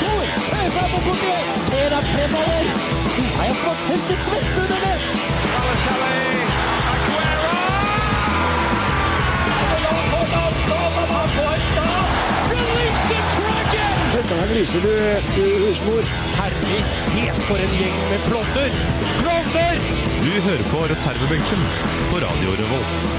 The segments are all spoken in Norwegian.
Skjæfa på bordet! Ser han fremover! Har jeg spådd helt i svettbudene? Balotelli, Aguero! Herlig, helt for en gjeng med klovner! Klovner! Du hører på reservebenken på Radio Revolt.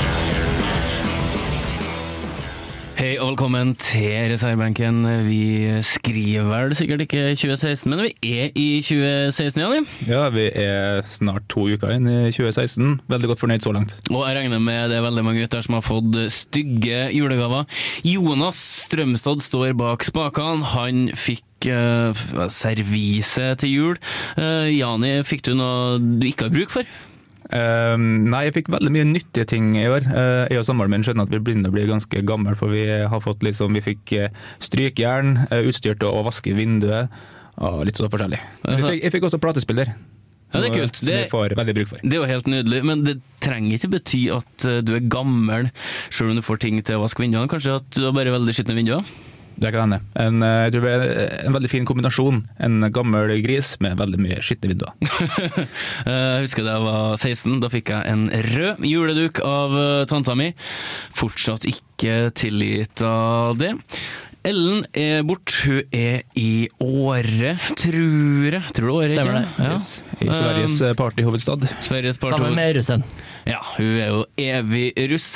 Hei og velkommen til reservebenken. Vi skriver vel sikkert ikke 2016, men vi er i 2016, Janni. Ja, vi er snart to uker inn i 2016. Veldig godt fornøyd så langt. Og jeg regner med det er veldig mange gutter som har fått stygge julegaver. Jonas Strømstad står bak spakene. Han fikk eh, f- servise til jul. Eh, Jani, fikk du noe du ikke har bruk for? Eh, nei, jeg fikk veldig mye nyttige ting i år. Eh, jeg og samboeren min skjønner at vi begynner å bli ganske gamle, for vi har fått liksom, vi fikk eh, strykjern, eh, utstyr til å vaske vinduet, og litt sånn forskjellig. Men Vi fikk, jeg fikk også platespiller. Ja, det er kult. Som Det- vi får veldig bruk for. Det er jo helt nydelig, men det trenger ikke bety at eh, du er gammel, selv om du får ting til å vaske vinduene. Kanskje at du har bare veldig skitne vinduer? Det kan hende. En, eh, jeg tror det er en veldig fin kombinasjon. En gammel gris med veldig mye skitne vinduer. Eh, Jeg husker da jeg var 16, da fikk jeg en rød juleduk av eh, tanta mi. Fortsatt ikke tilgitt av det. Ellen er borte, hun er i Åre, tror jeg. Tror du Åre ikke Stemmer det. Ja. Yes. I Sveriges eh, partyhovedstad. Sveriges Sammen partner. med russen. Ja, hun er jo evig russ.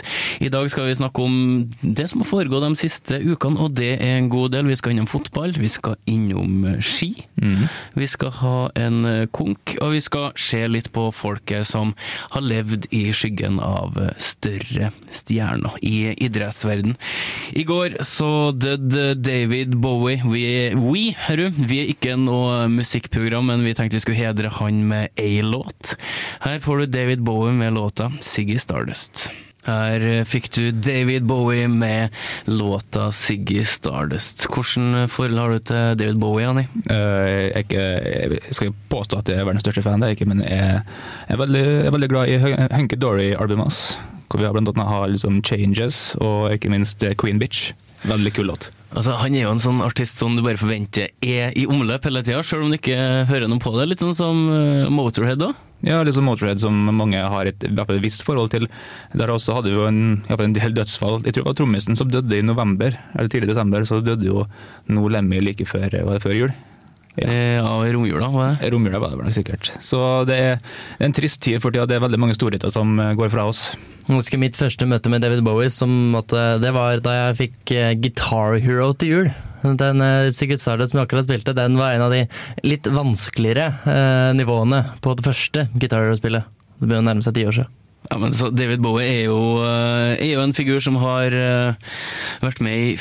I dag skal vi snakke om det som har foregått de siste ukene, og det er en god del. Vi skal innom fotball, vi skal innom eh, ski. Vi skal ha en eh, konk, og vi skal se litt på folket som har levd i skyggen av eh, større stjerner i idrettsverden. I går så døde David Bowie. Vi, vi, herru, vi er ikke noe musikkprogram, men vi tenkte vi skulle hedre han med ei låt. Her får du David Bowie med låta 'Siggy Stardust'. Her eh, fikk du David Bowie med låta 'Siggy Stardust'. Hvordan forhold har du til David Bowie, Annie? Eh, jeg, er ikke- jeg skal ikke påstå at jeg er verdens største fan, det er jeg ikke, men jeg er veldig, jeg er veldig glad i Hun- Hunky Dory-albumet hans. Hvor vi har blant annet har liksom Changes og ikke minst eh, Queen Bitch. Veldig kul låt. Altså, han er jo en sånn artist som du bare forventer er i omløp hele tida, sjøl om du ikke hører noe på det. Litt sånn som eh, Motorhead, da. Ja, liksom Motorhead som mange har et, i hvert fall et visst forhold til. Der også hadde vi jo en, i hvert fall en del dødsfall. Jeg tror det var trommisen som døde i november, eller tidlig i desember, så døde jo No Lemmy like før, eh, var det før jul. Ja. Eh, Av romjula, var det. Romjula var det vel nok sikkert. Så det er en trist tid for tida. Det er veldig mange storheter som eh, går fra oss. Jeg husker mitt første møte med David Bowie, som måtte, det var da jeg fikk eh, Guitar Hero til jul. Den eh, Secret Stardust som jeg akkurat spilte, den var en av de litt vanskeligere eh, nivåene på det første Guitar Hero-spillet. Det begynner å nærme seg ti år siden. Ja, men så David Bowie er jo, eh, er jo en figur som har eh, vært med i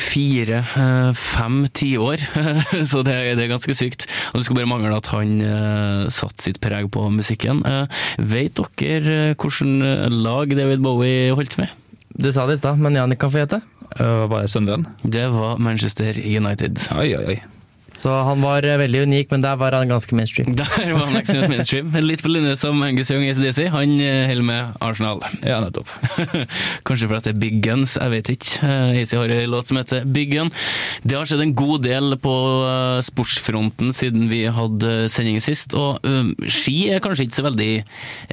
fire-fem tiår, så det, er- det er ganske sykt. Og det skulle bare mangle at han eh, satte sitt preg på musikken. Eh, Vet dere hvilket lag David Bowie holdt med? Du sa det i stad, men Jannik kan få gjette. Uh, var det søndagen? Det var Manchester United. Oi, oi, oi. Så han var eh, veldig unik, men der var han ganske mainstream. Der var han ekstremt mainstream. Litt på linje som Angus Young i ACDC. Han eh, holder med Arsenal. Ja, nettopp. Kanskje fordi det er Big Guns, jeg vet ikke. Eh, AC har en låt som heter Big Gun. Det har skjedd en god del på eh, sportsfronten siden vi hadde sending sist, og eh, ski er kanskje ikke så veldig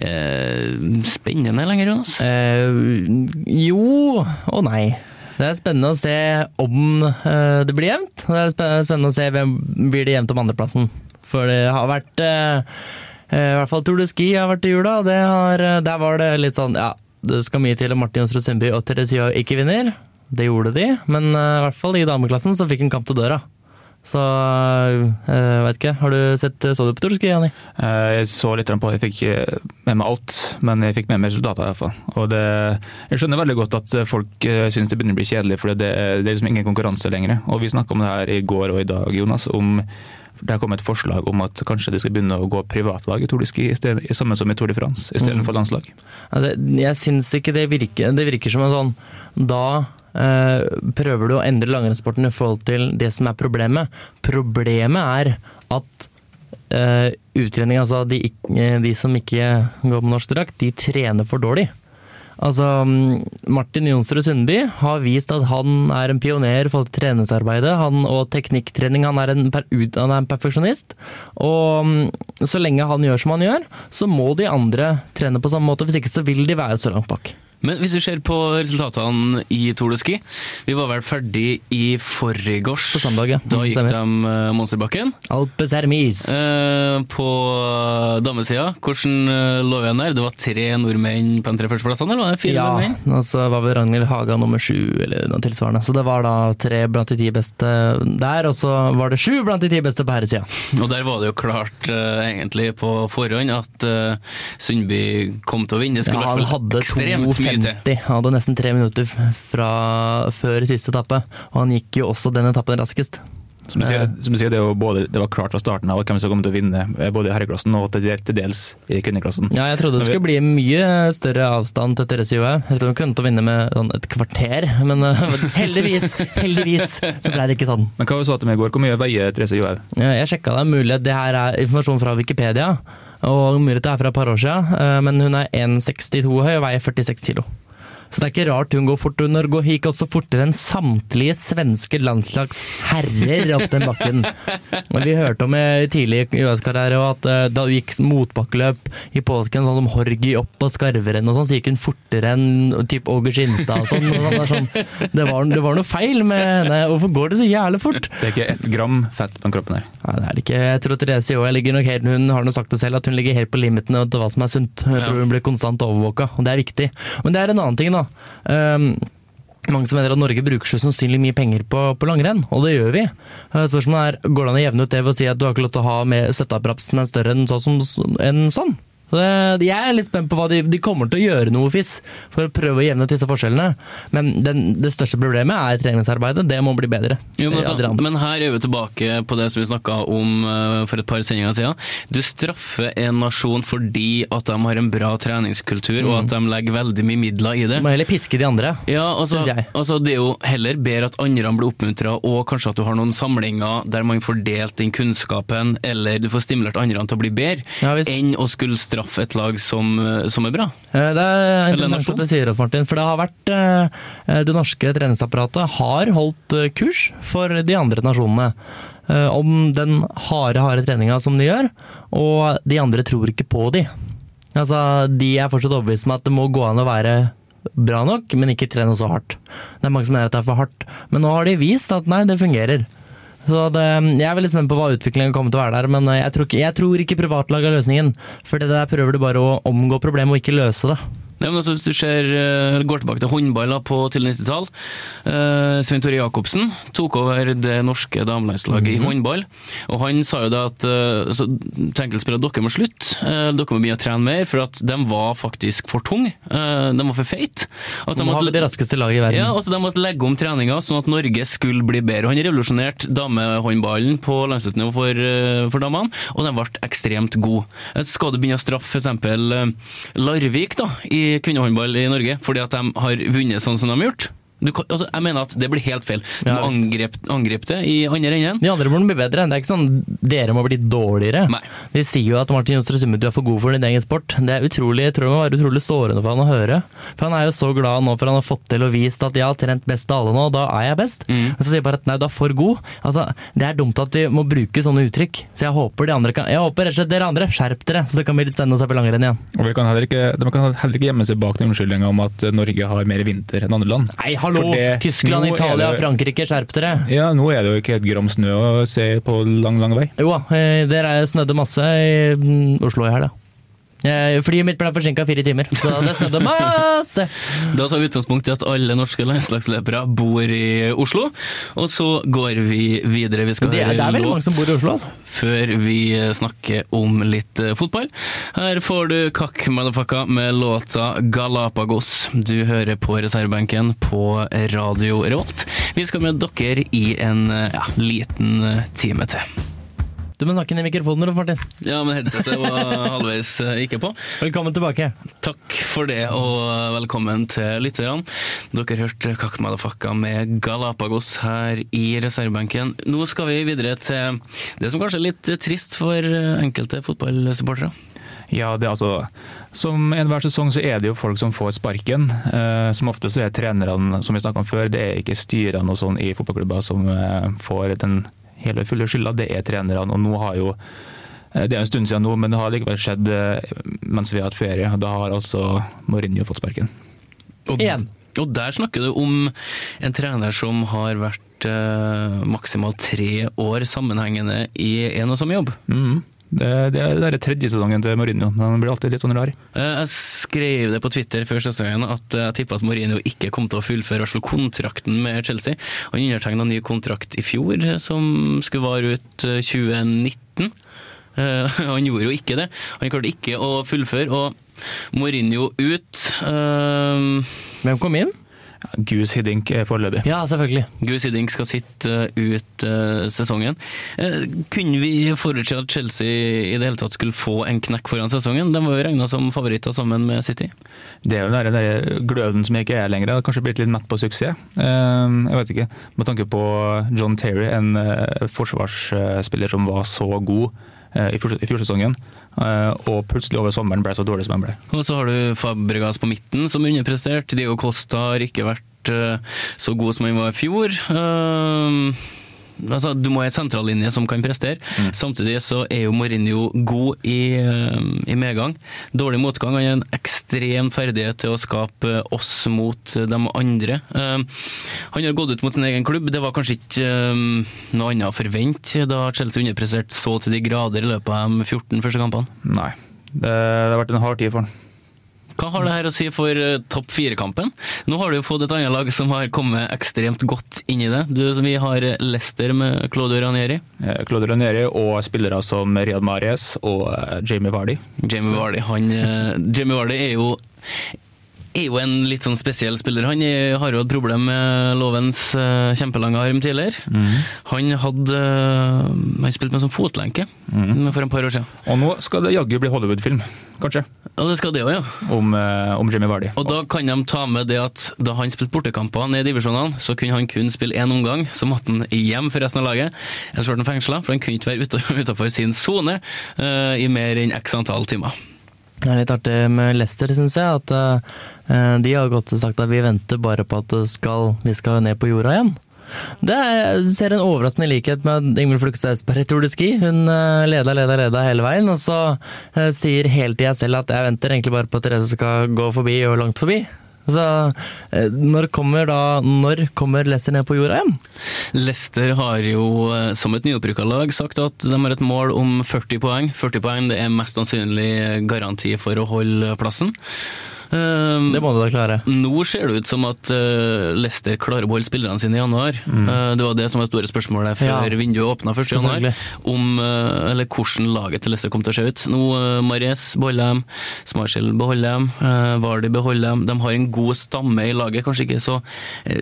eh, spennende lenger, Jonas? Eh, jo og nei. Det er spennende å se om eh, det blir jevnt. Det er spen- spennende å se hvem blir det jevnt om andreplassen. For det har vært eh, eh, I hvert fall Tour de Ski har vært i jula. og Det har, eh, der var det litt sånn Ja, det skal mye til om Martin Johnsrud Sundby og Theresia ikke vinner. Det gjorde de, men eh, i hvert fall i dameklassen så fikk hun kamp til døra. Så eh, jeg vet ikke. Har du sett Så du på Tour de Ski, Janni? Eh, Jeg så litt på, jeg fikk ikke med meg alt, men jeg fikk med meg resultatet i hvert fall. Og det, jeg skjønner veldig godt at folk eh, synes det begynner å bli kjedelig, for det, er- det er liksom ingen konkurranse lenger. Og vi snakket om det her i går og i dag, Jonas, om det har kommet et forslag om at kanskje de skal begynne å gå privatlag i Tour de Ski, i stedet- i samme som i Tour de France, istedenfor landslag. Ja, det- Jeg syns ikke det virker Det virker som en sånn Da eh, prøver du å endre langrennssporten i forhold til det som er problemet. Problemet er at uh, eh, utredning, altså de, ikk- eh, de som ikke går med norsk drakt, de trener for dårlig. Altså, mm, Martin Jonsrud Sundby har vist at han er en pioner for treningsarbeidet. Han og teknikktrening. Han er en, per, ut- han er en perfeksjonist. Og mm, så lenge han gjør som han gjør, så må de andre trene på samme måte. Hvis ikke så vil de være så langt bak. Men hvis du ser på resultatene i Tour de Ski Vi var vel ferdig i forgårs. På søndag, ja. Da gikk de Stemmer. eh, Monsterbakken. Alpes Hermes. Eh, på damesida, hvordan eh, lå vi igjen der? Det var tre nordmenn på de tre førsteplassene, eller var det fire ja, nordmenn? og så var vel Ragnhild Haga nummer sju, eller noe tilsvarende. Så det var da tre blant de ti beste der, og så var det sju blant de ti beste på herresida. Og der var det jo klart eh, egentlig på forhånd at eh, Sundby kom til å vinne. Det Ja, skulle i han hvert fall hadde ekstremt mye til. 2,50. Han hadde nesten tre minutter f- fra før siste etappe, og han gikk jo også den etappen raskest. Som du sier, som du sier det, er jo både, det var klart fra starten av hvem som kom til å vinne, eh, både i herreklassen og til, til dels i kvinneklassen. Ja, jeg trodde det skulle bli mye større avstand til Therese Johaug. Jeg trodde hun kunne til å vinne med sånn et kvarter, men eh, heldigvis, heldigvis så ble det ikke sånn. Men hva sa du til meg i går? Hvor mye veier Therese Johaug? Eh, Jeg sjekka det, mulig at det her er informasjon fra Wikipedia, og mulig at det er fra et par år siden, eh, men hun er 1,62 høy og veier 46 kilo. Så det er ikke rart hun går fort. Hun går- gikk også fortere enn samtlige svenske landslags herrer opp den bakken. Men vi hørte om eh, tidlig i UAs karriere og at eh, da hun gikk motbakkeløp i påsken, sånn som Horgi opp og Skarveren og sånn, så gikk hun fortere enn typ Åge Skinstad og sånn. Og det er sånn det, var, det var noe feil med henne. Hvorfor går det så jævlig fort? Det er ikke ett gram fett på den kroppen her. Nei, det er det ikke. Jeg tror Therese Johaug ligger nok helt Hun har nå sagt det selv, at hun ligger helt på limiten til hva som er sunt. Jeg tror Ja. hun blir konstant overvåka, og det er viktig. Men det er en annen ting, da. Ehm, mange som mener at Norge bruker så sannsynlig mye penger på, på langrenn, og det gjør vi. Eh, Spørsmålet er, går det an å jevne ut det ved å si at du har ikke lov til å ha med støtteapparat som er større enn sånn? Som, enn sånn? Så det- Jeg er litt spent på hva de, de kommer til å gjøre noe fiss for å prøve å jevne ut disse forskjellene. Men den, det største problemet er treningsarbeidet. Det må bli bedre. Jo, men, Eh, av de altså, andre. men her er vi tilbake på det som vi snakka om eh, for et par sendinger siden. Du straffer en nasjon fordi at de har en bra treningskultur, og Mm. at de legger veldig mye midler i det. Du må heller piske de andre. Ja, altså, Synes jeg. altså Det er jo heller bedre at andre blir oppmuntra, og kanskje at du har noen samlinger der man får delt den kunnskapen, eller du får stimulert andre til å bli bedre, Ja, visst. enn å skulle straffe et lag som, som er bra. Eh, Det er interessant nasjon? at du sier det, Martin. For det har vært eh, Det norske treningsapparatet har holdt eh, kurs for de andre nasjonene. eh, Om den harde, harde treninga som de gjør, og de andre tror ikke på de. Altså, De er fortsatt overbevist om at det må gå an å være bra nok, men ikke trene så hardt. Det er mange som mener at det er for hardt, men nå har de vist at nei, det fungerer. Så det, Jeg er veldig spent på hva utviklingen kommer til å være der, men eh, jeg tror ikke, jeg tror ikke privatlag er løsningen. For det der prøver du bare å omgå problemet og ikke løse det. Nei, men altså, hvis du ser, eh, går tilbake til håndball da, på tidlig 90-tall eh, Svein Tore Jacobsen tok over det norske damelandslaget Mhm. i håndball. Og han sa jo da at eh, altså, enkeltspillere dere må slutte, eh, dere må begynne å trene mer, for at de var faktisk for tunge. eh, de var for feite. At de Nå har vi måtte- det raskeste laget i verden. ja, altså De måtte legge om treninga sånn at Norge skulle bli bedre. Og Han revolusjonerte damehåndballen på landslagsnivå for, eh, for damene, og de ble ekstremt gode. Eh, Skal du begynne å straffe f.eks. Larvik da, i kvinnehåndball i Norge fordi at de har vunnet sånn som de har gjort? Du, kan- altså, jeg mener at det blir helt feil. Du Ja, må angripe, angripe det i andre enden. De andre må bli bedre. Det er ikke sånn dere må bli dårligere. Nei. De sier jo at Martin Jonsrud Summe, du er for god for din egen sport. Det er utrolig, jeg tror det må være utrolig sårende for han å høre. For han er jo så glad nå for han har fått til og vist at jeg har trent best av alle nå, da er jeg best. Mm. Og så sier jeg bare at nei, du er for god. Altså, det er dumt at vi må bruke sånne uttrykk. Så jeg håper de andre kan Jeg håper rett og slett dere andre, skjerp dere, så det kan bli litt spennende å se på langrenn igjen. Og vi kan heller ikke, De kan heller ikke gjemme seg bak den unnskyldninga om at Norge har mer vinter enn andre land. Nei, hallo! For det- Tyskland, nå er Italia, det- Frankrike, skjerp dere! Ja, nå er det jo ikke et gram snø å se på lang, lang vei. Jo da, eh, der er snødde masse i mm, Oslo i helga. Eh, Flyet mitt ble forsinka fire timer, så det snødde masse! Da tar vi altså utgangspunkt i at alle norske landslagsløpere bor i Oslo. Og så går vi videre. Vi skal Det, er- det er veldig låt. mange som bor i Oslo, altså. før vi snakker om litt eh, fotball. Her får du Kakk Motherfucka med låta Galapagos. Du hører på reservebenken på Radio Revolt. Vi skal med dere i en eh, ja, liten eh, time til. Du må snakke inn i mikrofonen, Rolf Martin. Ja, men headsetet var halvveis eh, ikke på. Velkommen tilbake. Takk for det, og velkommen til lytterne. Dere hørte Kakk Motherfucka med Galapagos her i reservebenken. Nå skal vi videre til det som kanskje er litt trist for eh, enkelte fotballsupportere. Ja, det er altså Som enhver sesong så er det jo folk som får sparken. Eh, som ofte så er trenerne, som vi snakket om før, det er ikke styrene og sånn i fotballklubber som eh, får den hele og fulle skylda, det er trenerne. Og nå har jo eh, det er jo en stund siden nå, men det har likevel skjedd eh, mens vi har hatt ferie. og Da har altså Mourinho fått sparken. Og, Igjen. og der snakker du om en trener som har vært eh, maksimalt tre år sammenhengende i en og samme jobb. Mm. Det, det, er, det er tredje sesongen til Mourinho. Han blir alltid litt sånn rar. Eh, Jeg skrev det på Twitter før sesongen at jeg tippa at Mourinho ikke kom til å fullføre i hvert fall kontrakten med Chelsea. Han undertegna ny kontrakt i fjor eh, som skulle vare ut eh, 2019. Eh, Han gjorde jo ikke det. Han klarte ikke å fullføre, og Mourinho ut. eh, Hvem kom inn? Goose Hiddink er foreløpig. Ja, selvfølgelig. Gus Hiddink skal sitte ut eh, sesongen. Eh, Kunne vi forutse at Chelsea i det hele tatt skulle få en knekk foran sesongen? De var jo regna som favoritter sammen med City. Det er jo den der- den der gløden som jeg ikke er lenger. Jeg har kanskje blitt litt mett på suksess. Eh, Jeg vet ikke. Med tanke på John Terry, en eh, forsvarsspiller som var så god eh, i fjor- i fjorsesongen, eh, og plutselig over sommeren ble så dårlig som han ble. Og så har du Fabregas på midten, som underprestert. Diego Costa har ikke vært eh, så god som han var i fjor. Ehm, altså, du må ha en sentrallinje som kan prestere. Samtidig så er jo Mourinho god i, eh, i medgang. Dårlig motgang. Han har en ekstrem ferdighet til å skape eh, oss mot de andre. Ehm, han har gått ut mot sin egen klubb. Det var kanskje ikke ehm, noe annet å forvente da Chelsea underpresterte så til de grader i løpet av de 14 første kampene. Nei. Det, det har vært en hard tid for han. Hva har det her å si for eh, topp fire-kampen? Nå har du jo fått et annet lag som har kommet ekstremt godt inn i det. Du, vi har eh, Leicester med Claudio Ranieri, Eh, Claude Ranieri og spillere som Riyad Mahrez og eh, Jamie Vardy. Jamie Vardy. Han, eh, Jamie Vardy er jo er jo en litt sånn spesiell spiller. Han er, har jo hatt problem med lovens eh, kjempelange arm tidligere. Han hadde eh, Han spilte med sånn fotlenke for et par år siden. Og nå skal det jaggu bli Hollywood-film, kanskje, Og det skal det òg, ja. om, eh, om Jamie Vardy. Og da kan de ta med det at da han spilte bortekamper ned i divisjonene, så kunne han kun spille én omgang, så måtte han hjem for resten av laget. Ellers ble han fengsla, for han kunne ikke være utafor sin sone eh, i mer enn x antall timer. Det er litt artig med Leicester, syns jeg. At eh, de har godt sagt at vi venter bare på at det skal, vi skal ned på jorda igjen. Det er, jeg ser en overraskende likhet med Ingvild Flugstad Østberg i Tour de Ski. Hun eh, leda, leda, leda hele veien, og så eh, sier hele tida selv at jeg venter egentlig bare på at Therese skal gå forbi og langt forbi. Så eh, når kommer da Når kommer Leicester ned på jorda igjen? Leicester har jo eh, som et nyopprykka lag sagt at de har et mål om 40 poeng. 40 poeng det er mest sannsynlig garanti for å holde plassen. Eh, Det må du da klare. Nå ser det ut som at eh, Leicester klarer å beholde spillerne sine i januar. Eh, det var det som var det store spørsmålet før Mm. Ja. vinduet åpna 1. januar. Selvfølgelig. Om, eh, eller hvordan laget til Leicester kom til å se ut. Nå uh, Mares beholder dem, Smarshall beholder dem, uh, Vardy beholder dem. De har en god stamme i laget, kanskje ikke så eh,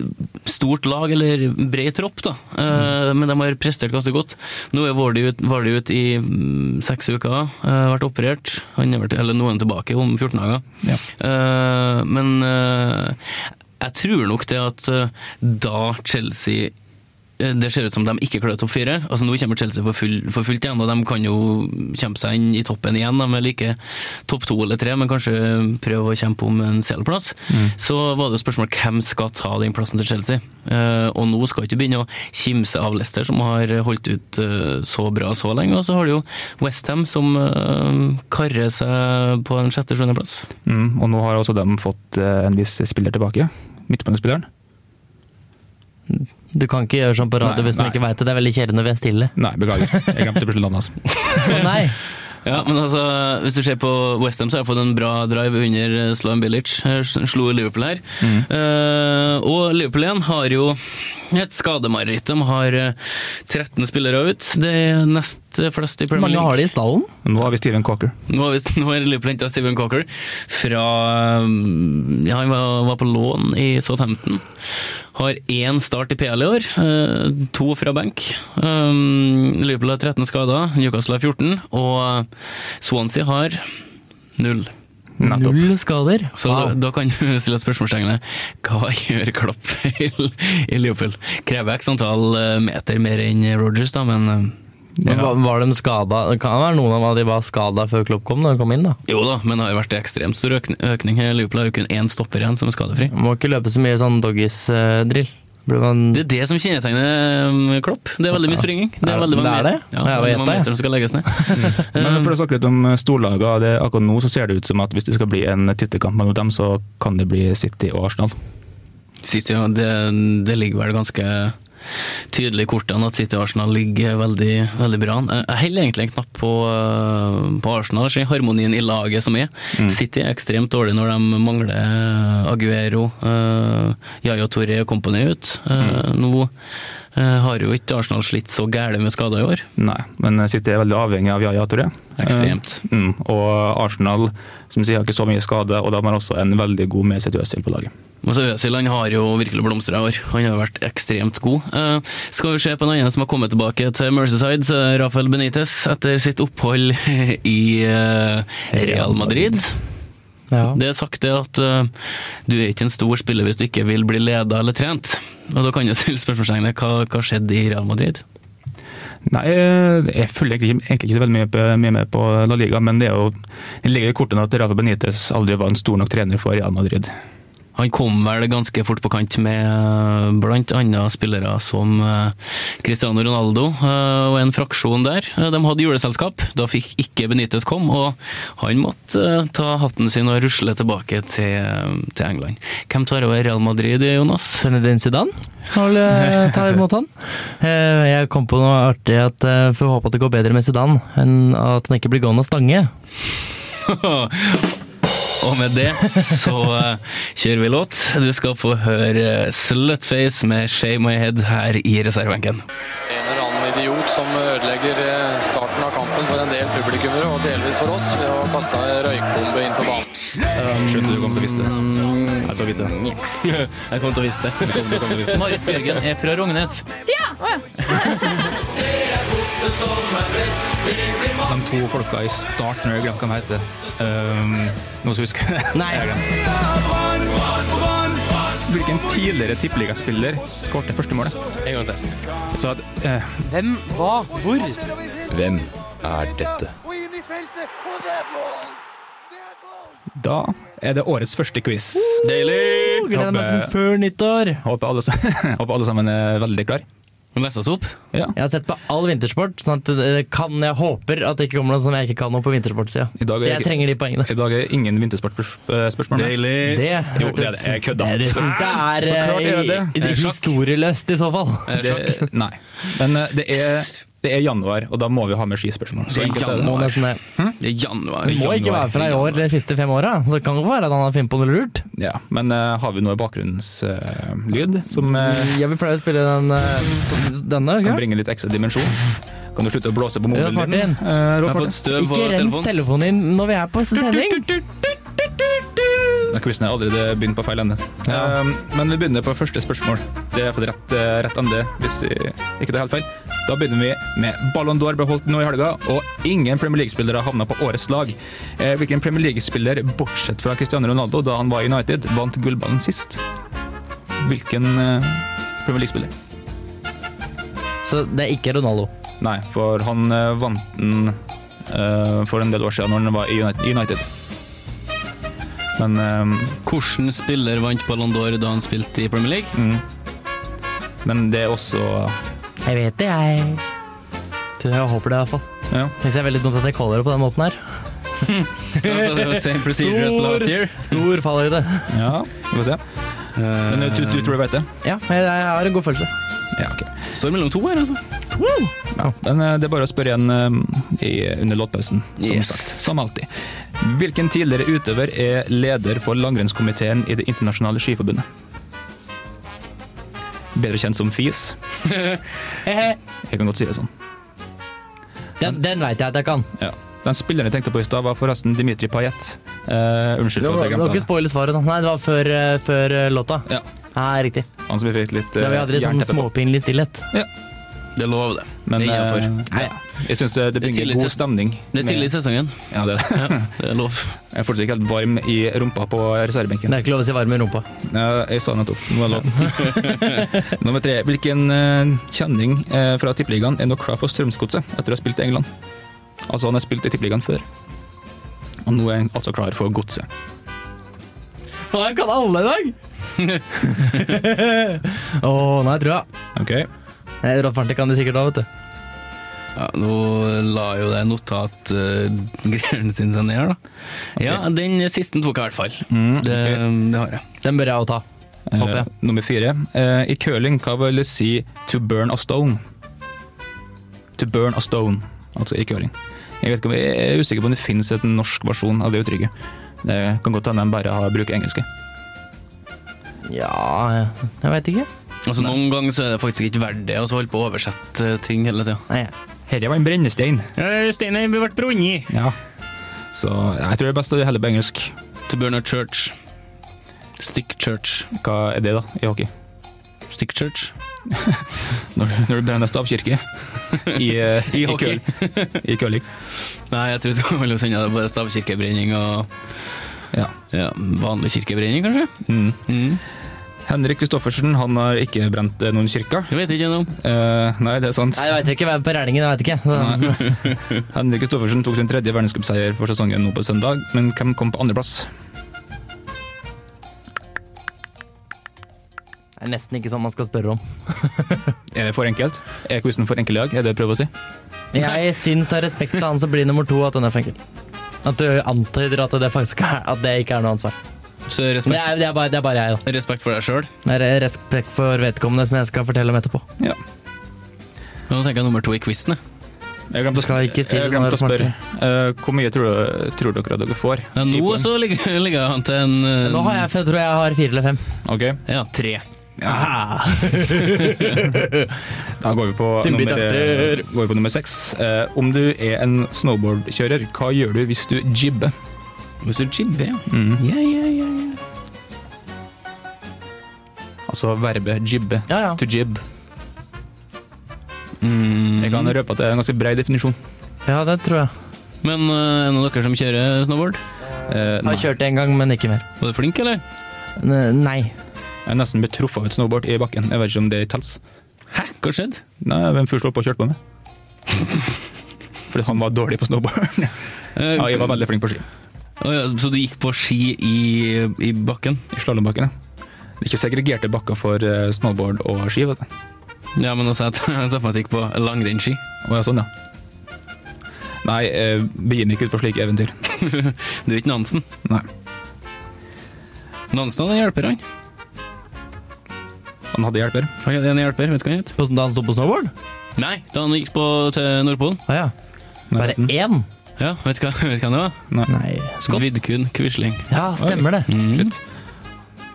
stort lag eller bred tropp, da. Eh, men de har prestert ganske godt. Nå er Vardy ut, Vardy ut i mm, seks uker, eh, vært operert. Han er vært, eller nå er han tilbake om 14 dager. Ja. Eh, men eh, jeg tror nok det at eh, da Chelsea eh, det ser ut som de ikke klarer topp fire. Altså, nå kommer Chelsea for, full, for fullt igjen, og de kan jo kjempe seg inn i toppen igjen. De er like topp to eller tre, men kanskje prøve å kjempe om en CL-plass. Så var det jo spørsmål hvem skal ta den plassen til Chelsea. Eh, og nå skal ikke begynne å kimse av Leicester, som har holdt ut eh, så bra så lenge. Og så har du jo Westham, som eh, karrer seg på en sjette-sjuendeplass. Mm, og nå har også de fått eh, en viss spiller tilbake. Midtbanespilleren. Du kan ikke gjøre sånn på radio Nei, hvis man nei. ikke veit det. Det er veldig kjedelig når vi er stille. Nei, beklager. Jeg glemte plutselig navnet hans. Å nei! Ja, men altså, hvis du ser på Westham, så har jeg fått en bra drive under Sloan Bilic. Eh, Slo Liverpool her. Mm. Eh, og Liverpool igjen har jo et skademareritt. De har eh, 13 spillere ut. Det er nest flest i Hvor Premier mange har League. de i stallen? Nå har vi Steven Cocker. Nå har, vi, nå har Liverpool henta Steven Cocker fra mm, ja, Han var, var på lån i Southampton. Har én start i PL i år, eh, to fra benk. Um, Liverpool har 13 skader, Newcastle har 14, og Swansea har null. Nettopp. Null skader. Så da, da kan du stille spørsmålstegnet Hva gjør Klopp i Liverpool? Krever x antall eh, meter mer enn Rogers, da, men eh, Men Var, var de skada? Kan det være noen av de var skada før Klopp kom? Når de kom inn da? Jo da, men det har jo vært ekstremt stor økning. økning. Liverpool har jo kun én stopper igjen som er skadefri. Må ikke løpe så mye sånn doggies-drill. Blir man Det er det som kjennetegner um, Klopp. Det er veldig mye springing. Det er Er det- veldig mange, det er meter- Ja, det? Ja, jeg veldig vet mange det. meter som skal legges ned. Mm. Men for å snakke litt om storlagene, det, akkurat nå så ser det ut som at hvis det skal bli en tittelkamp mellom dem, så kan det bli City og Arsenal. City, ja, det, det ligger vel ganske tydelig i kortene at City og Arsenal ligger veldig, veldig bra an. Jeg jeg holder egentlig en knapp på, eh, på Arsenal, jeg ser harmonien i laget som er. Mm. City er ekstremt dårlig når de mangler eh, Aguero, eh, Yaya Torre og company ut. Mm. Eh, Nå eh, har jo ikke Arsenal slitt så gæle med skader i år. Nei, men eh, City er veldig avhengig av Yaya Touré. Ekstremt. Eh, Mm, og Arsenal som sier, har ikke så mye skade, og de har også en veldig god med sitt Øzil på laget. Men så Øzil han har jo virkelig blomstra i år. Han har vært ekstremt god. Eh, skal vi se på en annen som har kommet tilbake til Merceside, så er Rafael Benitez, etter sitt opphold i eh, Real Madrid. ja. Det er sagt det at eh, du er ikke en stor spiller hvis du ikke vil bli leda eller trent. Og da kan du stille spørsmålstegnet hva, hva skjedde i Real Madrid? Nei, eh, jeg følger egentlig, ikke- egentlig ikke så veldig mye, på- mye med på La Liga, men det er jo, det ligger i kortene at Rafa Benitez aldri var en stor nok trener for Real Madrid. Han kom vel ganske fort på kant med eh, blant annet spillere som eh, Cristiano Ronaldo eh, og en fraksjon der. Eh, De hadde juleselskap, da fikk ikke Benitez kom, og han måtte eh, ta hatten sin og rusle tilbake til, eh, til England. Hvem tar over Real Madrid, Jonas? Zinedine Zidane har vel ta imot han. Eh, Jeg kom på noe artig at eh, får håpe at det går bedre med Zidane enn at han ikke blir gående og stange. Og med det så eh, kjører vi låt. Du skal få høre eh, Slutface med Shame My Head her i reservebenken. en eller annen idiot som ødelegger eh, starten av kampen for en del publikummere, og delvis for oss, ved å kaste en røykbombe inn på banen. Skjønte du kom til å vite det. Jeg til å vite det. Jeg kom til å vise det. Marit Bjørgen er fra Rognes. De to folka i starten, jeg glemte hva de heter. Um, nå skal jeg huske det. Nei. Jeg har glemt. Hvilken tidligere tippeligaspiller skåret det første målet? En gang til. Så at, eh, Hvem er dette? Og inn i feltet, og det er mål! Det er mål! da er det årets første quiz. Deilig! Gleder meg som før nyttår. Håper alle, sa- håper alle sammen er veldig klar. Lese oss opp. Ja. Jeg har sett på all vintersport, sånn at det kan, jeg håper at det ikke kommer noe som jeg ikke kan noe på vintersportsida. I dag er Jeg ikke- trenger de poengene. I dag er ingen vintersportspørsmål. Deilig. Det, Jo, det er det. Jeg kødda. Det, det syns jeg Så klart er, er det det. eh, Det er sjakk. historieløst, i så fall. Det, nei. Men eh, det er, det er januar, og da må vi ha med skispørsmål. Så Det er enkelt er det. Må januar. nesten det. Det er januar. Det må ikke være fra i år de siste fem åra, så det kan godt være at han har funnet på noe lurt. Ja, men eh, har vi noe bakgrunnslyd som eh, Jeg vil pleie å spille den eh, denne. kan Ikke, bringe litt ekstra dimensjon? Kan du slutte å blåse på Ja, mobilen Martin. din? Eh, Rolf Jeg har Martin? fått støv på ikke rens telefonen. telefonen din når vi er på sending. Nei, Quizen har allerede begynt på feil ende. Ja. Eh, men vi begynner på første spørsmål. Det er iallfall rett, eh, rett ende, hvis vi ikke det er helt feil. Da begynner vi med Ballon d'Or ble holdt nå i helga, og ingen Premier League-spillere havna på årets lag. Eh, hvilken Premier League-spiller, bortsett fra Cristiano Ronaldo, da han var i United, vant gullballen sist? Hvilken eh, Premier League-spiller? Så det er ikke Ronaldo. Nei, for han eh, vant den eh, for en del år siden, når han var i Uni- United. Men eh, Hvordan spiller vant Ballon d'Or da han spilte i Premier League? Mm. Men det er også Jeg vet det, jeg. Så jeg håper det, iallfall. Ja. Hvis jeg er veldig dumt at jeg caller det på den måten her. Altså, det var same procedure as last year. Stor fallhøyde. ja vi får se. Men eh, eh, du, du Eh, tror du vet det? Ja, jeg, jeg har en god følelse. Ja, ok. Står mellom to her, altså. Oh. Men eh, det er bare å spørre igjen eh, i, under låtpausen, som Yes. sagt. Som alltid. Hvilken tidligere utøver er leder for langrennskomiteen i Det internasjonale skiforbundet? Bedre kjent som FIS. Jeg kan godt si det sånn. Den, den veit jeg at jeg kan. Ja. Den spilleren jeg tenkte på i stad, var forresten Dimitri Payet. Eh, unnskyld for at jeg Du må glemte ikke det. spoile svaret. da. Nei, det var før, eh, før eh, låta. Ja. Nei, riktig. Han som vi fikk litt eh, Da vi hadde litt sånn jernteppe på. småpinlig stillhet. Ja. Det er lov, det. Men det er innenfor. Ja, eh, ja. jeg syns det, det Det er bringer tidlig god se- stemning. Det er tidlig i sesongen. Med, ja, det er det. Det er lov. Jeg er fortsatt ikke helt varm i rumpa på Det reservebenken. er ikke lov å si varm i rumpa. Ja, jeg sa det nettopp. Nå er det lov. Nummer tre. Hvilken eh, kjenning eh, fra Tippeligaen er nå klar for Strømsgodset etter å ha spilt i England? Altså, han har spilt i Tippeligaen før. Og nå er han altså klar for Godset. Faen, kan alle i dag! Å, nei, tror jeg. Ok. Nei, Rolf Arntek kan de sikkert òg, vet du. Ja, nå la jo det notatgreiene sin seg ned, da. Ja, den siste tok jeg i hvert fall. Mm, Det, ok. det har jeg. Den bør jeg òg ta. Håper jeg. Eh, nummer fire. Eh, I curling, hva vil det si 'to burn a stone'? To burn a stone, altså i curling. Jeg, vet ikke om, jeg er usikker på om det finnes et norsk versjon av det uttrykket. Det kan godt hende de bare har bruker engelske. Eh, Ja, jeg veit ikke. Altså, noen ganger så er det faktisk ikke verdt det å holde på å oversette eh, ting hele tida. Nei, Herre var en brennestein. Steinen blir vært brunnet. Ja. Så jeg tror det er best å heller på engelsk. To burn a church. Stick church. Hva er det, da, i hockey? Stick church. Når, når du brenner stavkirke? I, eh, I hockey. curl- I curling. Nei, jeg tror vi skal holde oss unna det. Bare stavkirkebrenning og Ja. ja, vanlig kirkebrenning, kanskje. Mm. Mm. Henrik Kristoffersen han har ikke brent eh, noen kirker. Jeg vet ikke noe. Eh, nei, det er sant. jeg veit ikke. Jeg er på regningen, jeg veit ikke. Så, Henrik Kristoffersen tok sin tredje verdenscupseier for sesongen nå på søndag, men hvem kom på andreplass? det er nesten ikke sånn man skal spørre om. Er det for enkelt? Er quizen for enkel i dag? Er det jeg prøver å si? Jeg syns av respekt av han som blir nummer to, at den er for enkel. At du antyder at det faktisk er, at det ikke er noe ansvar. Så Men det respekt, er, det er, bare, det er bare jeg, da. respekt for deg sjøl. Det er respekt for vedkommende som jeg skal fortelle om etterpå. Ja. Nå tenker jeg nummer to i quizen. jeg. Jeg glemte, å- Skal jeg ikke si jeg det nå, glemte å Martin? spørre. Eh, hvor mye tror, tror dere dere får? Ja, I nå poeng? så ligger, ligger han til en eh, Nå har jeg, jeg tror jeg har fire eller fem. Ok, Ja, tre. da går vi på Simbi nummer, takter. går vi på nummer seks. Eh, om du er en snowboardkjører, hva gjør du hvis du jibber? Hvis du jibber, ja. Mm. Ja, ja, ja, ja. Altså verbet jibbe. Ja, ja. To jib. Mm. Jeg kan røpe at det er en ganske bred definisjon. ja det tror jeg. Men eh, er det noen av dere som kjører snowboard? Eh, Jeg nei. har kjørt det en gang, men ikke mer. Var du flink, eller? N- Nei. Jeg er nesten blitt truffet av et snowboard i bakken. Jeg vet ikke om det tels. Hæ, hva skjedde? Nei, hvem først holdt på å kjøre på meg? Fordi han var dårlig på snowboard. Eh, Ja, jeg var veldig flink på ski. å ja, så du gikk på ski i, i bakken? I slalåmbakken, ja. Det er Ikke segregerte bakker for eh, snowboard og ski, vet du. Ja, men også at jeg så for meg at du gikk på langrennsski. Å ja, sånn, ja. Nei, eh, begir meg ikke ut på slike eventyr. Du er ikke Nansen. Nei. Nansen hadde en hjelper, han. Han hadde hjelper. Han hadde en hjelper, vet du hva han het? På- sånn- Da han sto på snowboard? Nei, da han gikk på, til Nordpolen. Å ja. Bare Nei, én? Ja, vet du hva, vet du hva det var? Nei. Skott. Vidkun Quisling. Ja, stemmer det. Mm. Slutt.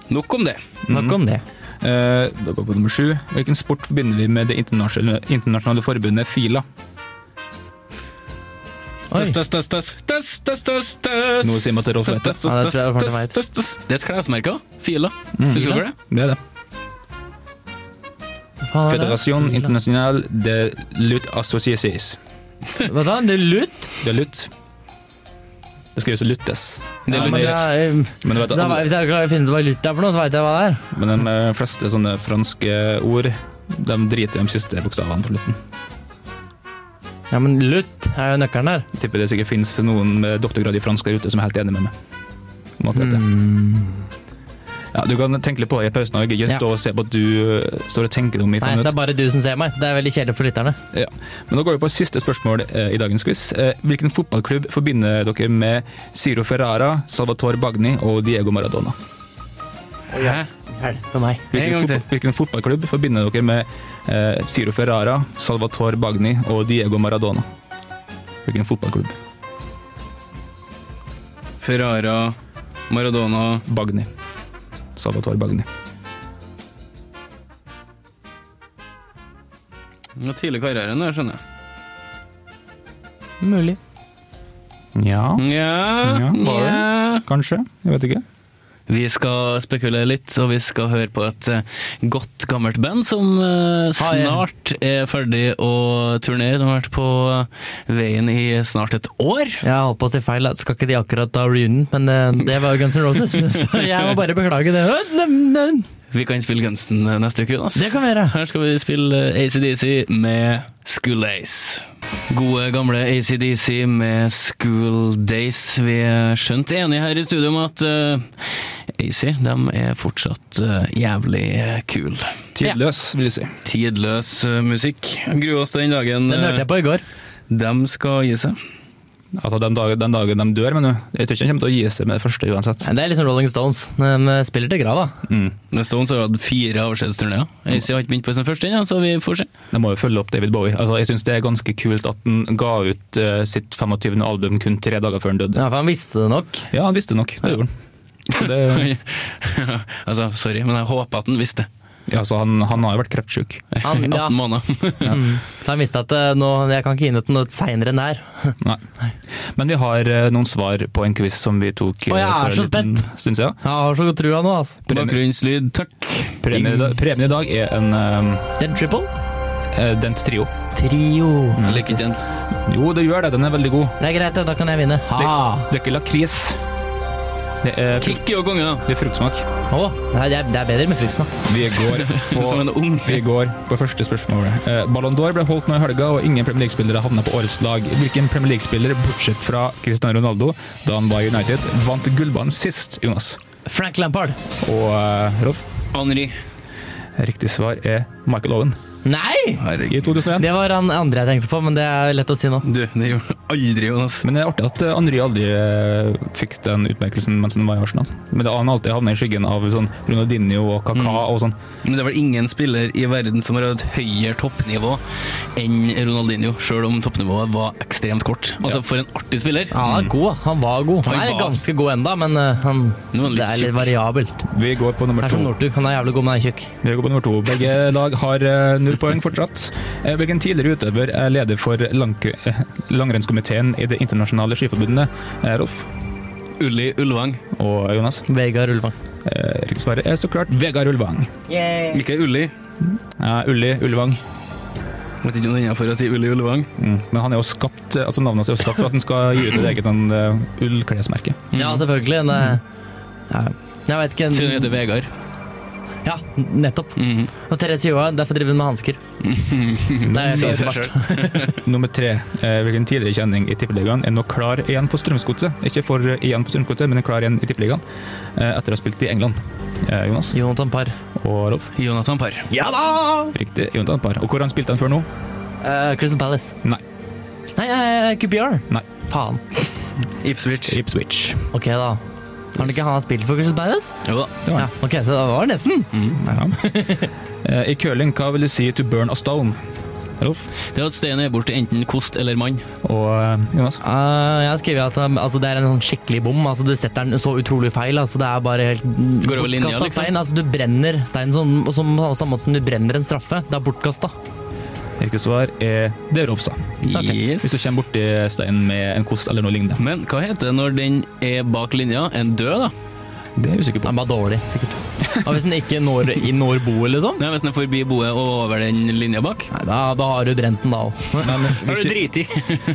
Nok om det. Nok om det. Eh, da går vi på nummer sju. Hvilken sport forbinder vi med det internasjonale, internasjonale forbundet FILA? Oi. Test, test, test, test, test, test, test, test. Noe sier meg at Rolf vet det. Test, test, Ja, det tror jeg test, Rolf Martin vet. test, test. Det er et klesmerke også. Mm. Fila. Skal du se over det? Det er det. Faen, er det? Federasjon International de Lutte Associaces. Hva da? Det er lutt? Det er lutt. Det skrives luttes. Det Ja, er litt- men det er- eh, Men du vet at Da, alle, hvis jeg klarer å finne ut hva lutt er for noe, så veit jeg hva det er. Men de eh, fleste sånne franske ord de driter i de siste bokstavene på slutten. Ja, men lutt er jo nøkkelen der. Jeg tipper det sikkert finnes noen med doktorgrad i fransk der ute som er helt enig med meg. Om akkurat det. Ja, du kan tenke litt på det i pausen. og Jeg gidder Hmm. Ja. ikke stå og se på at du eh, står og tenker deg om i fem Nei, det er minutter. bare du som ser meg, så det er veldig kjedelig for lytterne. Ja. Men nå går vi på siste spørsmål eh, i dagens quiz. Eh, hvilken fotballklubb forbinder dere med Ciro Ferrara, Salvatore Bagni og Diego Maradona? Hæ? Hjelpe meg. En Hvilken, gang til. fotball- hvilken fotballklubb forbinder dere med eh, Ciro Ferrara, Salvatore Bagni og Diego Maradona? Hvilken fotballklubb? Ferrara, Maradona Bagni. Salvatore Bagni. ja, Tidlig i karrieren, det skjønner jeg. Mulig. Ja, Ja, Ja, var det? ja. kanskje. Jeg vet ikke. Vi skal spekulere litt, og vi skal høre på et eh, godt, gammelt band som eh, Har jeg. snart er ferdig å turnere. De har vært på veien i snart et år. Jeg holdt på å si feil, da. skal ikke de akkurat ta reunion, men eh, det var jo Guns N' Roses, så jeg må bare beklage det. Øh, nem, nem. Vi kan spille Gunsen neste uke, Jonas. Det kan vi gjøre. Her skal vi spille eh, ACDC med School Days. Gode, gamle ACDC med School Days. Vi er skjønt enige her i studio om at eh, AC de er fortsatt eh, jævlig kule. Tidløs, vil jeg si. Tidløs eh, musikk. Gruer oss til den dagen Den hørte jeg på i går. de skal gi seg. Altså, den, dagen, den dagen de dør, men jeg tror ikke de kommer til å gi seg med det første uansett. Nei, Det er liksom Rolling Stones. De spiller til grava. The Stones har hatt fire avskjedsturneer. AC har ikke begynt på sin første ennå, så vi får se. De må jo følge opp David Bowie. Altså, jeg syns det er ganske kult at han ga ut eh, sitt 25. album kun tre dager før han døde. Ja, for han visste det nok. Ja, han visste nok. Det gjorde han. Så det, altså, sorry, men jeg håper at han visste. ja, så han, han har jo vært kreftsyk. Han, I 18 ja. måneder. Mm. Så han visste at eh, nå, jeg kan ikke gi ut noe seinere enn det her. Nei. Men vi har eh, noen svar på en quiz som vi tok eh, Å, jeg er for så en liten stund siden. Jeg har så god trua nå, altså. Bakgrunnslyd, takk. Premien i, dag, premien i dag er en eh, Den triple? eh, Dent Trio. Trio. Jeg liker den. Jo, det gjør det. Den er veldig god. Det er greit, da kan jeg vinne. Ha! Det er ikke lakris. Det er, fru- Kikki og konge, da. det er fruktsmak. Å, nei, det, er, det er bedre med fruktsmak. Vi går Som en på, unge. vi går på første spørsmål. Eh, Ballon d'Or ble holdt nå i helga, og ingen Premier League-spillere havna på årets lag. Hvilken Premier League-spiller, bortsett fra Cristiano Ronaldo, da han var i United, vant gullballen sist, Jonas? Frank Lampard. Og eh, Rolf, Henri. riktig svar er Michael Owen Nei! i 2001. Det var han andre jeg tenkte på, men det er lett å si nå. Du, det gjorde han aldri, Jonas. Men det er artig at eh, Henry aldri eh, fikk den utmerkelsen mens han var i Arsenal. Men det han har alltid havnet i skyggen av sånn Ronaldinho og Kaka og sånn. Men det er vel ingen spiller i verden som har hatt høyere toppnivå enn Ronaldinho, sjøl om toppnivået var ekstremt kort. Altså, for en artig spiller! Ja, han er god. da. Han var god. Han Han er var- ganske god enda, men eh, han, Nå er han litt det er litt tjukk. variabelt. Det Vi går på nummer er som to. Northug. Han er jævlig god, men han er tjukk. Vi går på nummer to. Begge lag har eh, null poeng fortsatt. Eh, Hvilken tidligere utøver er leder for lang eh, langrennskomiteen i Det internasjonale skiforbundet? Eh, Rolf Ulli Ulvang. og Jonas. Vegard Ulvang. Eh, Riktig svar er så klart Vegard Ulvang. Ikke Ulli. Ja, Ulli Ulvang. Vet ikke om det er innafor å si Ulli Ulvang. Mm. Men han er jo skapt, eh, altså navnet hans er jo skapt for at han skal gi ut et eget sånn, eh, ullklesmerke. Mm. Ja, selvfølgelig. Det, ja. Jeg vet ikke Siden hun altså, heter Vegard. Ja, nettopp. Mhm. Og Therese Joa, derfor driver hun med hansker. Det er Sier mye seg smart. selv. Nummer tre. Eh, Hvilken tidligere kjenning i Tippeligaen er nå klar igjen for Strømsgodset? Ikke for eh, igjen på Strømsgodset, men er klar igjen i Tippeligaen eh, etter å ha spilt i England. Eh, Jonas Jonathan Parr. og Rolf. Jonathan Parr. Ja da! Riktig. Jonathan Parr. Og hvor han spilte han før nå? Eh, Crystal Palace. Nei. Nei, nei, QPR. Nei. Faen. Ipswich. Ipswich. Ok, da. Har han ikke han spilt for Crystal Palace? Jo da. Det var Ja, han. ok, så det var nesten. Eh, I curling, hva vil du si to burn a stone? Rolf Det er at steinen er borte enten kost eller mann. og eh, Jonas. Eh, jeg har skrevet at um, altså, det er en sånn skikkelig bom. Altså, du setter den så utrolig feil. Altså, det er bare helt Går over linja, bortkastet liksom. stein. Altså, du brenner steinen som, som, på samme måte som du brenner en straffe. Det er bortkasta. Riktig svar er det er Rolf sa. Hvis du kommer borti steinen med en kost eller noe lignende. Men hva heter det når den er bak linja? En død, da? Det er jeg usikker på. Den er bare dårlig, sikkert. Og hvis den ikke når, i- når boet, liksom, Nei, Hvis den er forbi boet og over den linja bak? nei, da, da har du brent den, da òg. Men Har du vi, driti?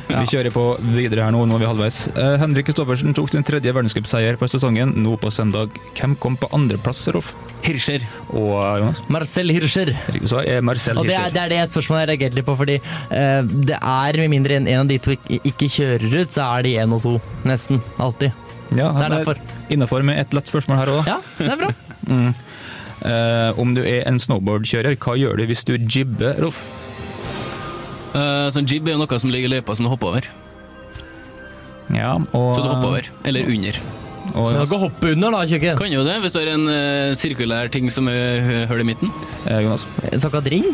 vi kjører på videre her nå, nå er vi halvveis. Eh, Henrik Kristoffersen tok sin tredje verdenscupseier for sesongen nå på søndag. Hvem kom på andreplass, Rolf? Hirscher. Og eh, Jonas? Marcel Hirscher. Riktig svar er eh, Marcel Og det er, Hirscher. det er det spørsmålet jeg reagerte litt på, fordi eh, det er med mindre en, en av de to ikke, ikke kjører ut, så er de én og to. Nesten. Alltid. Ja, Det er han derfor. Innafor med et lett spørsmål her òg. Ja, det er bra. Eh, om du er en snowboardkjører, hva gjør du hvis du jibber, Rolf? Eh, sånn jib er jo noe som ligger i løypa som du hopper over. Ja, og, Så du hopper over. Eller under. Og, Du kan Jonas. ikke hoppe under, da, tjukken. Kan jo det, hvis du har en eh, sirkulær ting som er hø- hull i midten. Eh, Jonas. Såkalt ring?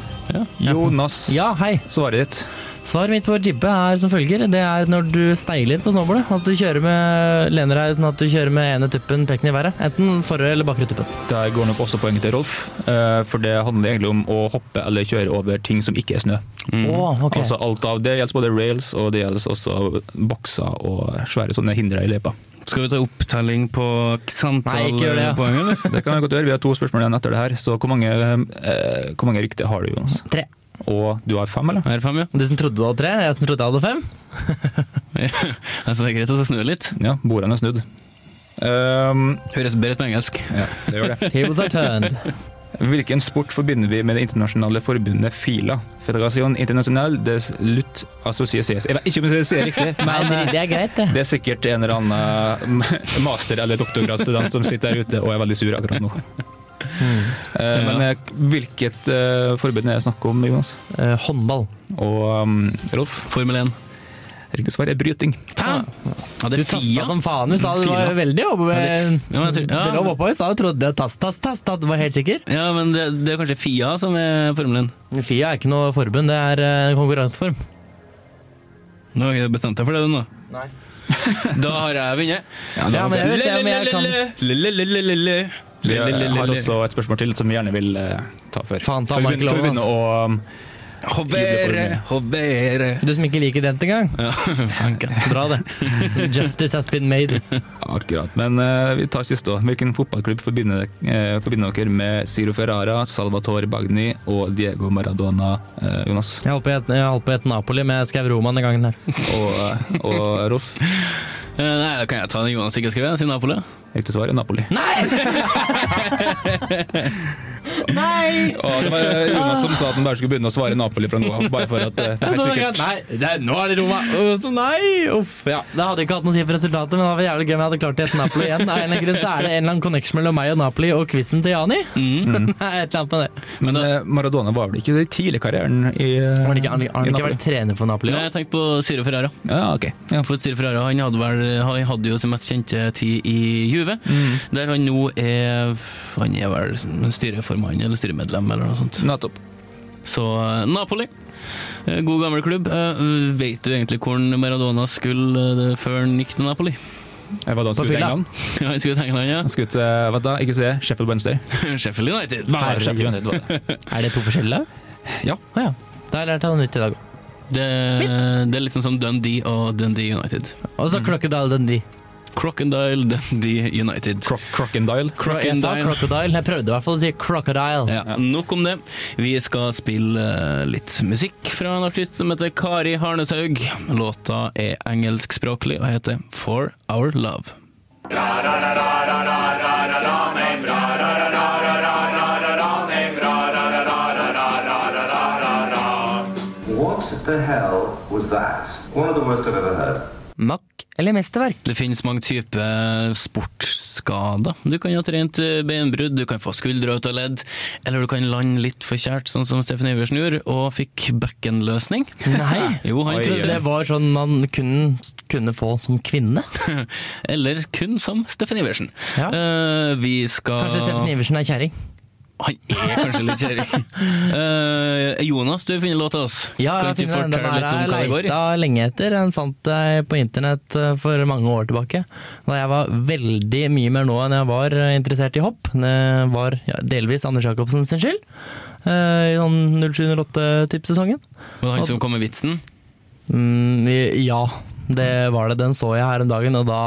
Jonas. Ja, hei. Svaret ditt. Svaret mitt på jibbe er som følger. Det er når du steiler på snowboardet. Altså du kjører med lener deg sånn at du kjører med ene tuppen peken i været. Enten forre eller bakre tuppen. Der går nok også poenget til Rolf. eh, For det handler egentlig om å hoppe eller kjøre over ting som ikke er snø. Åh, ok. Altså alt av Det gjelder både rails og det gjelder også bokser og svære sånne hindre i løypa. Skal vi ta opptelling på Nei, ikke gjør det, ja. Xantal-poeng, eller? Det kan vi godt gjøre. Vi har to spørsmål igjen etter det her. Så hvor mange, eh, hvor mange riktige har du, Jonas? Tre. Og du har fem, eller? Her er fem, ja. Du som trodde du hadde tre, jeg som trodde jeg hadde fem. altså, det er greit å snu litt. Ja, bordene er snudd. Ehm, Høres bedre ut på engelsk. ja, det gjør det. Tables are turned. Hvilken sport forbinder vi med det internasjonale forbundet FILA? Federation Internationale des Lutte Associées. Jeg vet ikke om jeg sier det riktig, Nei, men det er greit, det. det er sikkert en eller annen eh, master- eller doktorgradsstudent som sitter der ute og er veldig sur akkurat nå. Eh, Men eh, hvilket eh, forbund er det snakk om, Jonas? Eh, håndball. Og um, Rolf? Formel 1. Riktig svar er bryting. Faen! Ja, det Du er tasta Fia. som faen. Du sa du var Fila. veldig eh, oppe ved Ja, men jeg tror- ja. Det lå oppå i stad, du trodde det var tass, tass, tass, tass. Du var helt sikker. Ja, men det, det er kanskje Fia som er Formel 1. FIA er ikke noe forbund, det er eh, en konkurranseform. Nå har jeg bestemt deg for det, du, nå. Nei. Da har jeg vunnet. Ja, men jeg vil se om jeg kan Le-le-le-le-le-le. Vi har Le-le-le-le-le. også et spørmål til som vi gjerne vil eh, ta før. Faen, ta Før vi Michael begynner- før vi Owen, begynner å um, Hovere, hovere. Du som ikke liker den engang. Ja, fanken. Bra, det. Justice has been made. Akkurat. Men eh, vi tar siste òg. Hvilken fotballklubb forbinder, eh, forbinder dere med Ciro Ferrara, Salvatore Bagni og Diego Maradona, eh, Jonas? Jeg holdt på å het- jeg holdt på å hete Napoli, men jeg skrev Roma den gangen her. Og, eh, og Rolf? Eh, Nei, da kan jeg ta den Jonas ikke skrev, siden Napoli. Riktig svar er Napoli. Nei! Og det var Jonas som sa at han bare skulle begynne å svare Napoli fra nå av. Bare for at eh, det er sånn Så tenkte jeg, sikkert. nei, det er, nå er det Roma. Å, Så nei! Uff, ja. Det hadde ikke hatt noe å si for resultatet, men det hadde vært jævlig gøy om jeg hadde klart å hete Napoli igjen. Av en eller annen grunn så er det en eller annen connection mellom meg og Napoli og quizen til Jani. Nei, et eller annet med det. Men eh, Maradona var vel ikke det i tidlig karrieren i, eh, Har han ikke, har han ikke- i har han ikke Napoli? vært trener for Napoli? Nei, også? jeg tenkte på Ciro Ferrara. Ja, ok. Ja. For Ciro Ferrara han hadde, vel, han hadde jo sin mest kjente tid i Juve, der han nå er Han er vel styreformann eller styremedlem eller noe sånt. Nettopp. Så eh, Napoli. Eh, God gammel klubb. Eh, Vet du egentlig hvor Maradona skulle eh, før han gikk til Napoli? Jeg var da han skulle til fylla. England. Ja, han skulle til England, ja. Han skulle til, eh, vet du, da, ikke se, Sheffield Wednesday. Sheffield United. Nei, Sheffield United var det. Er det to forskjellige lag? Ja. Å ja. Da har jeg lært noe nytt i dag. Det, det er liksom som Dundee og Dundee United. Og så Crocodile Dundee. Crocodile Dundee United. Croc Crocodile. Jeg sa Crocodile. Crocodile, jeg prøvde i hvert fall å si Crocodile. Ja, nok om det. Vi skal spille eh, litt musikk fra en artist som heter Kari Harneshaug. Låta er engelskspråklig og heter For Our Love. What the hell was that? One of the worst I've ever heard. Makk eller mesterverk? Det finnes mange typer sportsskader. Du kan ha trent eh, benbrudd, du kan få skuldre ut av ledd, eller du kan lande litt for kjært, sånn som Steffen Iversen gjorde, og fikk bekkenløsning. Nei. Jo, han Oi, Jeg trodde trodde det var sånn man kunne, kunne få som kvinne. Eller kun som Steffen Iversen. Ja. Eh, vi skal Kanskje Steffen Iversen er kjerring. Han er kanskje litt kjerring. Eh, Jonas, du har funnet låta oss. Ja, kan ikke jeg du finner den. fortelle Den her litt om har hva det jeg går i? leita lenge etter. Den fant jeg på internett eh, for mange år tilbake. Da jeg var veldig mye mer nå enn jeg var eh, interessert i hopp. Det var ja, delvis Anders Jacobsen sin skyld. eh, I sånn 07-08-tippsesongen. Var det han som kom med vitsen? Mm, ja, det var det. Den så jeg her om dagen, og da,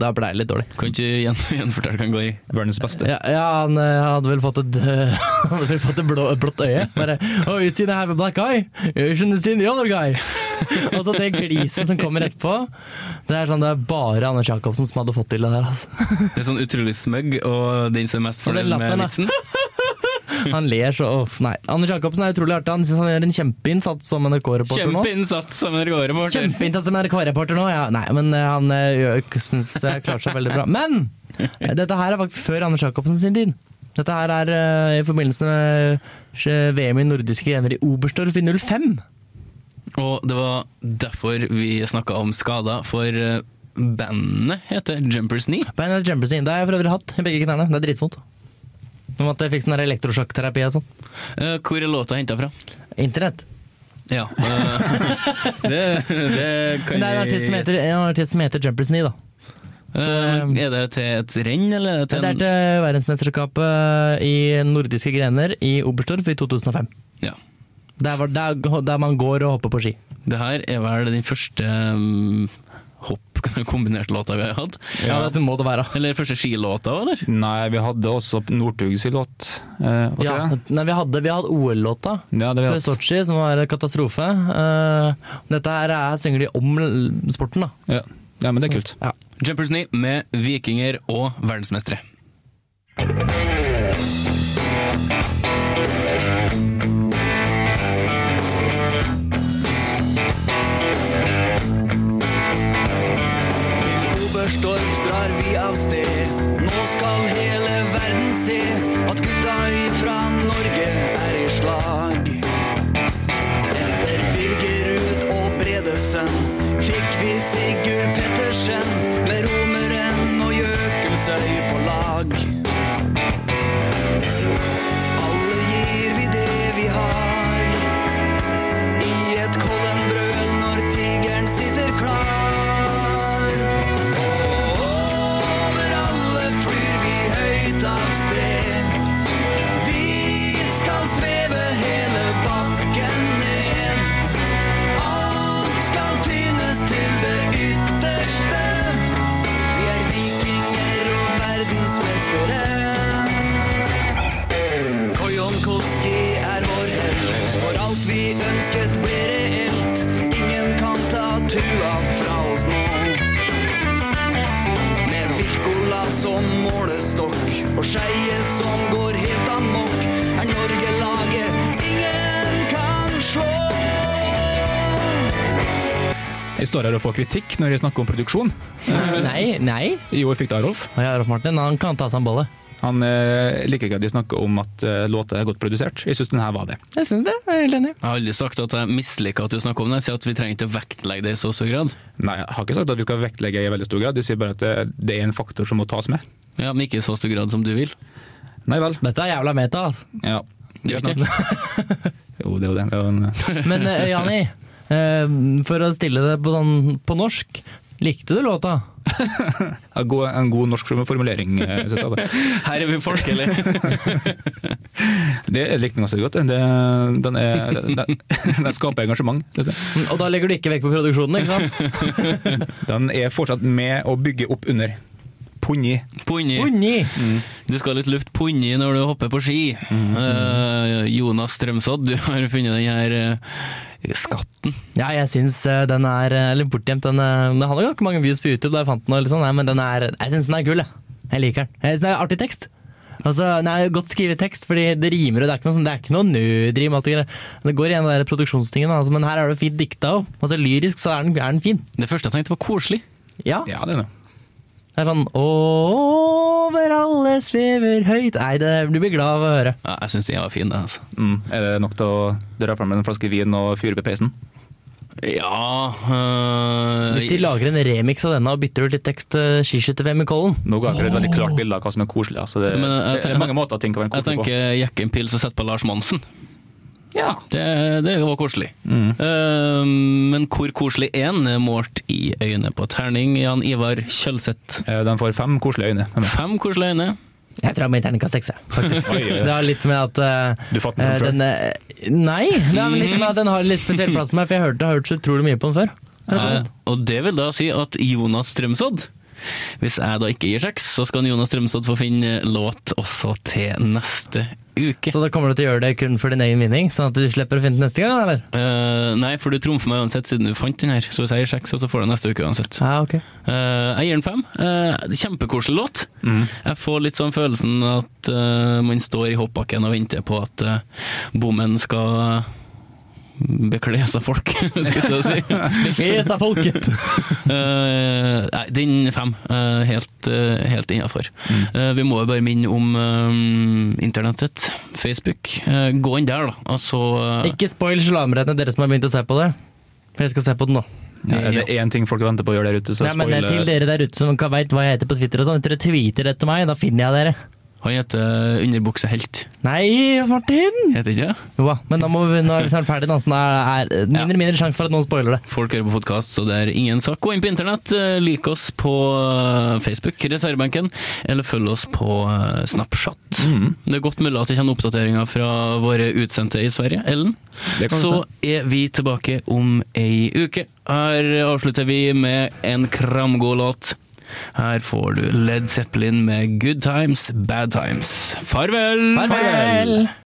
da ble jeg litt dårlig. Kan ikke du gjen, gjenfortelle hva han går i? Verdens beste. Ja, ja han eh, hadde vel fått et, eh, hadde vel fått et, blå, et blått øye. Bare Oh, you seen I have a black eye? You shouldn't seen the other guy. Og så det gliset som kommer etterpå. Det er sånn det er bare Anders Jacobsen som hadde fått til det der. Altså. Det er sånn utrolig smøgg, og den som er mest Og den fornøyd med lappen, da. vitsen. Han ler så uff, Nei. Anders Jacobsen er utrolig artig. Han syns han gjør en kjempeinnsats som NRK-reporter nå. Kjempeinnsats som NRK-reporter. Kjempeinnsats som NRK-reporter nå, ja. Nei, men eh, han eh, gjør- synes jeg klarer seg veldig bra. Men eh, dette her er faktisk før Anders Jacobsen sin tid. Dette her er eh, i forbindelse med eh, VM i nordiske grener i Oberstdorf i 05. Og det var derfor vi snakka om skader, for eh, bandet heter Jumpers Knee. Bein eller jumpers inn. Det har jeg for øvrig hatt i begge knærne. Det er dritvondt. Nå måtte jeg fikse sånn der elektrosjokkterapi og sånn. Eh, Hvor er låta henta fra? Internett. Ja, eh, det, det kan Men det er en artist som heter, en artist som heter Jumpers Knee, da. Eh, Er det til et renn, eller er det til um, Det er en til eh, verdensmesterskapet eh, i nordiske grener i Oberstdorf i 2005. Ja. Der, var, der, der man går og hopper på ski. Det her er vel den første um, kunne kombinert låta vi har hatt. Ja, dette må det være. Eller første skilåta, eller? Nei, vi hadde også Northug sin låt. Eh, var ikke Ja, det? nei, vi hadde, vi hadde OL-låta ja, det før vet jeg. Sotsji, som var en katastrofe. Eh, dette her er, synger de om l- sporten, Ja. da. ja, men det er kult. Jumpers Knee med Vikinger og verdensmestere. Oberstdorf drar vi av sted. Nå skal hele verden se at gutta ifra Norge er i slag. Etter Birgerud og Bredesen fikk vi Sigurd Pettersen med Romeren og Gjøkelsøy på lag. Alle gir vi det vi har. I et Kollenbrøl når tigeren sitter klar. Og over alle flyr vi høyt av sted. Vi skal sveve hele bakken ned. Alt skal tynes til det ytterste. Vi er vikinger og verdensmestere. Kojonkoski er vår helt, for alt vi ønsket ble reelt. Ingen kan ta tua fra oss nå. Med Wirkola som målestokk og Skeie som går helt amok, er Norge laget ingen kan slå. Jeg står her og får kritikk når jeg snakker om produksjon. Nei, nei. I år fikk det Rolf. Og ja, Rolf Martin han kan ta seg en bolle. Han eh, liker ikke at de snakker om at eh, låta er godt produsert. Jeg syns den her var det. Jeg syns det. Jeg er helt enig. Jeg har aldri sagt at jeg misliker at du snakker om det. Jeg sier at vi trenger ikke å vektlegge det i så stor grad. Nei, jeg har ikke sagt at vi skal vektlegge i veldig stor grad, jeg sier bare at det, det er en faktor som må tas med. Ja, Men ikke i så stor grad som du vil. Nei vel. Dette er jævla meta, altså. Ja. Det er jo ikke. Jo, det er jo det. det er jo en, Men eh, Jani, eh, for å stille det på, sånn, på norsk, likte du låta? en, god, en god norsk formulering, eh, synes jeg. Altså. Her er vi folk, eller? Det likte jeg ganske godt. Det, den, er, den, den skaper engasjement. synes jeg. Og da legger du ikke vekk på produksjonen, ikke sant? Den er fortsatt med å bygge opp under. Punni. Punni. Unni! Du skal ha litt luft punni når du hopper på ski. Eh, Jonas Strømsodd, du har funnet den her eh, skatten. Ja, jeg syns eh, den er eh, litt bortgjemt. Den, eh, den hadde ganske mange views på YouTube da jeg fant den, og litt sånn, nei, men den er, jeg syns den er kul, jeg. Jeg liker den. Jeg synes det er artig tekst. Altså, nei, Godt skrevet tekst, fordi det rimer, og det er ikke noe, sånn, det er ikke noe nødrim. alt Det greiene. Det går igjen den der produksjonstingen, da, altså, men her er det fint dikta òg. Altså, lyrisk så er den, er den fin. Det første jeg tenkte var koselig. Ja. Ja, det er det. Det er sånn Over alle svever høyt Nei, det, du blir glad av å høre. Ja, jeg syns den var fin, den. Altså. Mm. Er det nok til å dra fram en flaske vin og fyre på peisen? Ja eh, Hvis de lager en remix av denne og bytter ut litt tekst eh, til skiskytter-VM i Kollen Nå ga jeg et veldig klart bilde av hva som er koselig. Altså det, Men eh, jeg det tenker- er mange måter ting kan være Jeg koselig på. tenker jekke en pils og sette på Lars Monsen. Ja. Det, det var koselig. Eh, men hvor koselig er den, målt i øyne på terning, Jan Ivar Kjølseth? Eh, Den får fem koselige øyne. av meg. Fem koselige øyne. Jeg tror jeg må gi terningkast seks, jeg, faktisk. Oi, oi, oi. Det har litt med at eh, Du fant den eh, selv? den, eh, Nei, det har litt med at den har en litt spesiell plass for meg, for jeg hørte, har hørt så utrolig mye på den før. Eh, og det vil da si at Jonas Strømsodd Hvis jeg da ikke gir seks, så skal Jonas Strømsodd få finne låt også til neste uke. Så da kommer du til å gjøre det kun for din egen vinning, sånn at du slipper å finne den neste gang, eller? Eh, nei, for du trumfer meg uansett siden du fant den her. Så hvis jeg gir seks, så får du neste uke uansett. Ja, ok. Eh, jeg gir den fem. Eh, kjempekoselig låt. Jeg får litt sånn følelsen at eh, man står i hoppbakken og venter på at eh, bommen skal eh, bekle seg folk, skulle jeg til å si. Yes, da, folket. Eh, nei, den fem. eh, helt uh, helt innafor. vi må jo bare minne om eh, internettet, Facebook. Eh, gå inn der, da. Altså eh, Ikke spoil slamrettene, dere som har begynt å se på det. For jeg skal se på den nå. eh, Ja, er eh, det én ting folk venter på å gjøre der ute, så eh, Nei, men det er til dere der ute som ikke veit hva jeg heter på Twitter og sånn. Hvis dere tweeter etter meg, da finner jeg dere. Han heter Underbuksehelt, Nei, Martin! heter ikke det? Jo da, men da må vi, når vi er ferdig, da, så da er det mindre mindre sjanse for at noen spoiler det. Folk hører på podkast, så det er ingen sak. Gå inn på internett, eh, lik oss på eh, Facebook, reservebenken, eller følg oss på eh, Snapchat. Mm. Det er godt mulig at det kommer oppdateringer fra våre utsendte i Sverige. Ellen, Det kan så er vi tilbake om ei uke. Her avslutter vi med en kramgod låt. Her får du Led Zeppelin med Good Times, Bad Times. Farvel! Farvel!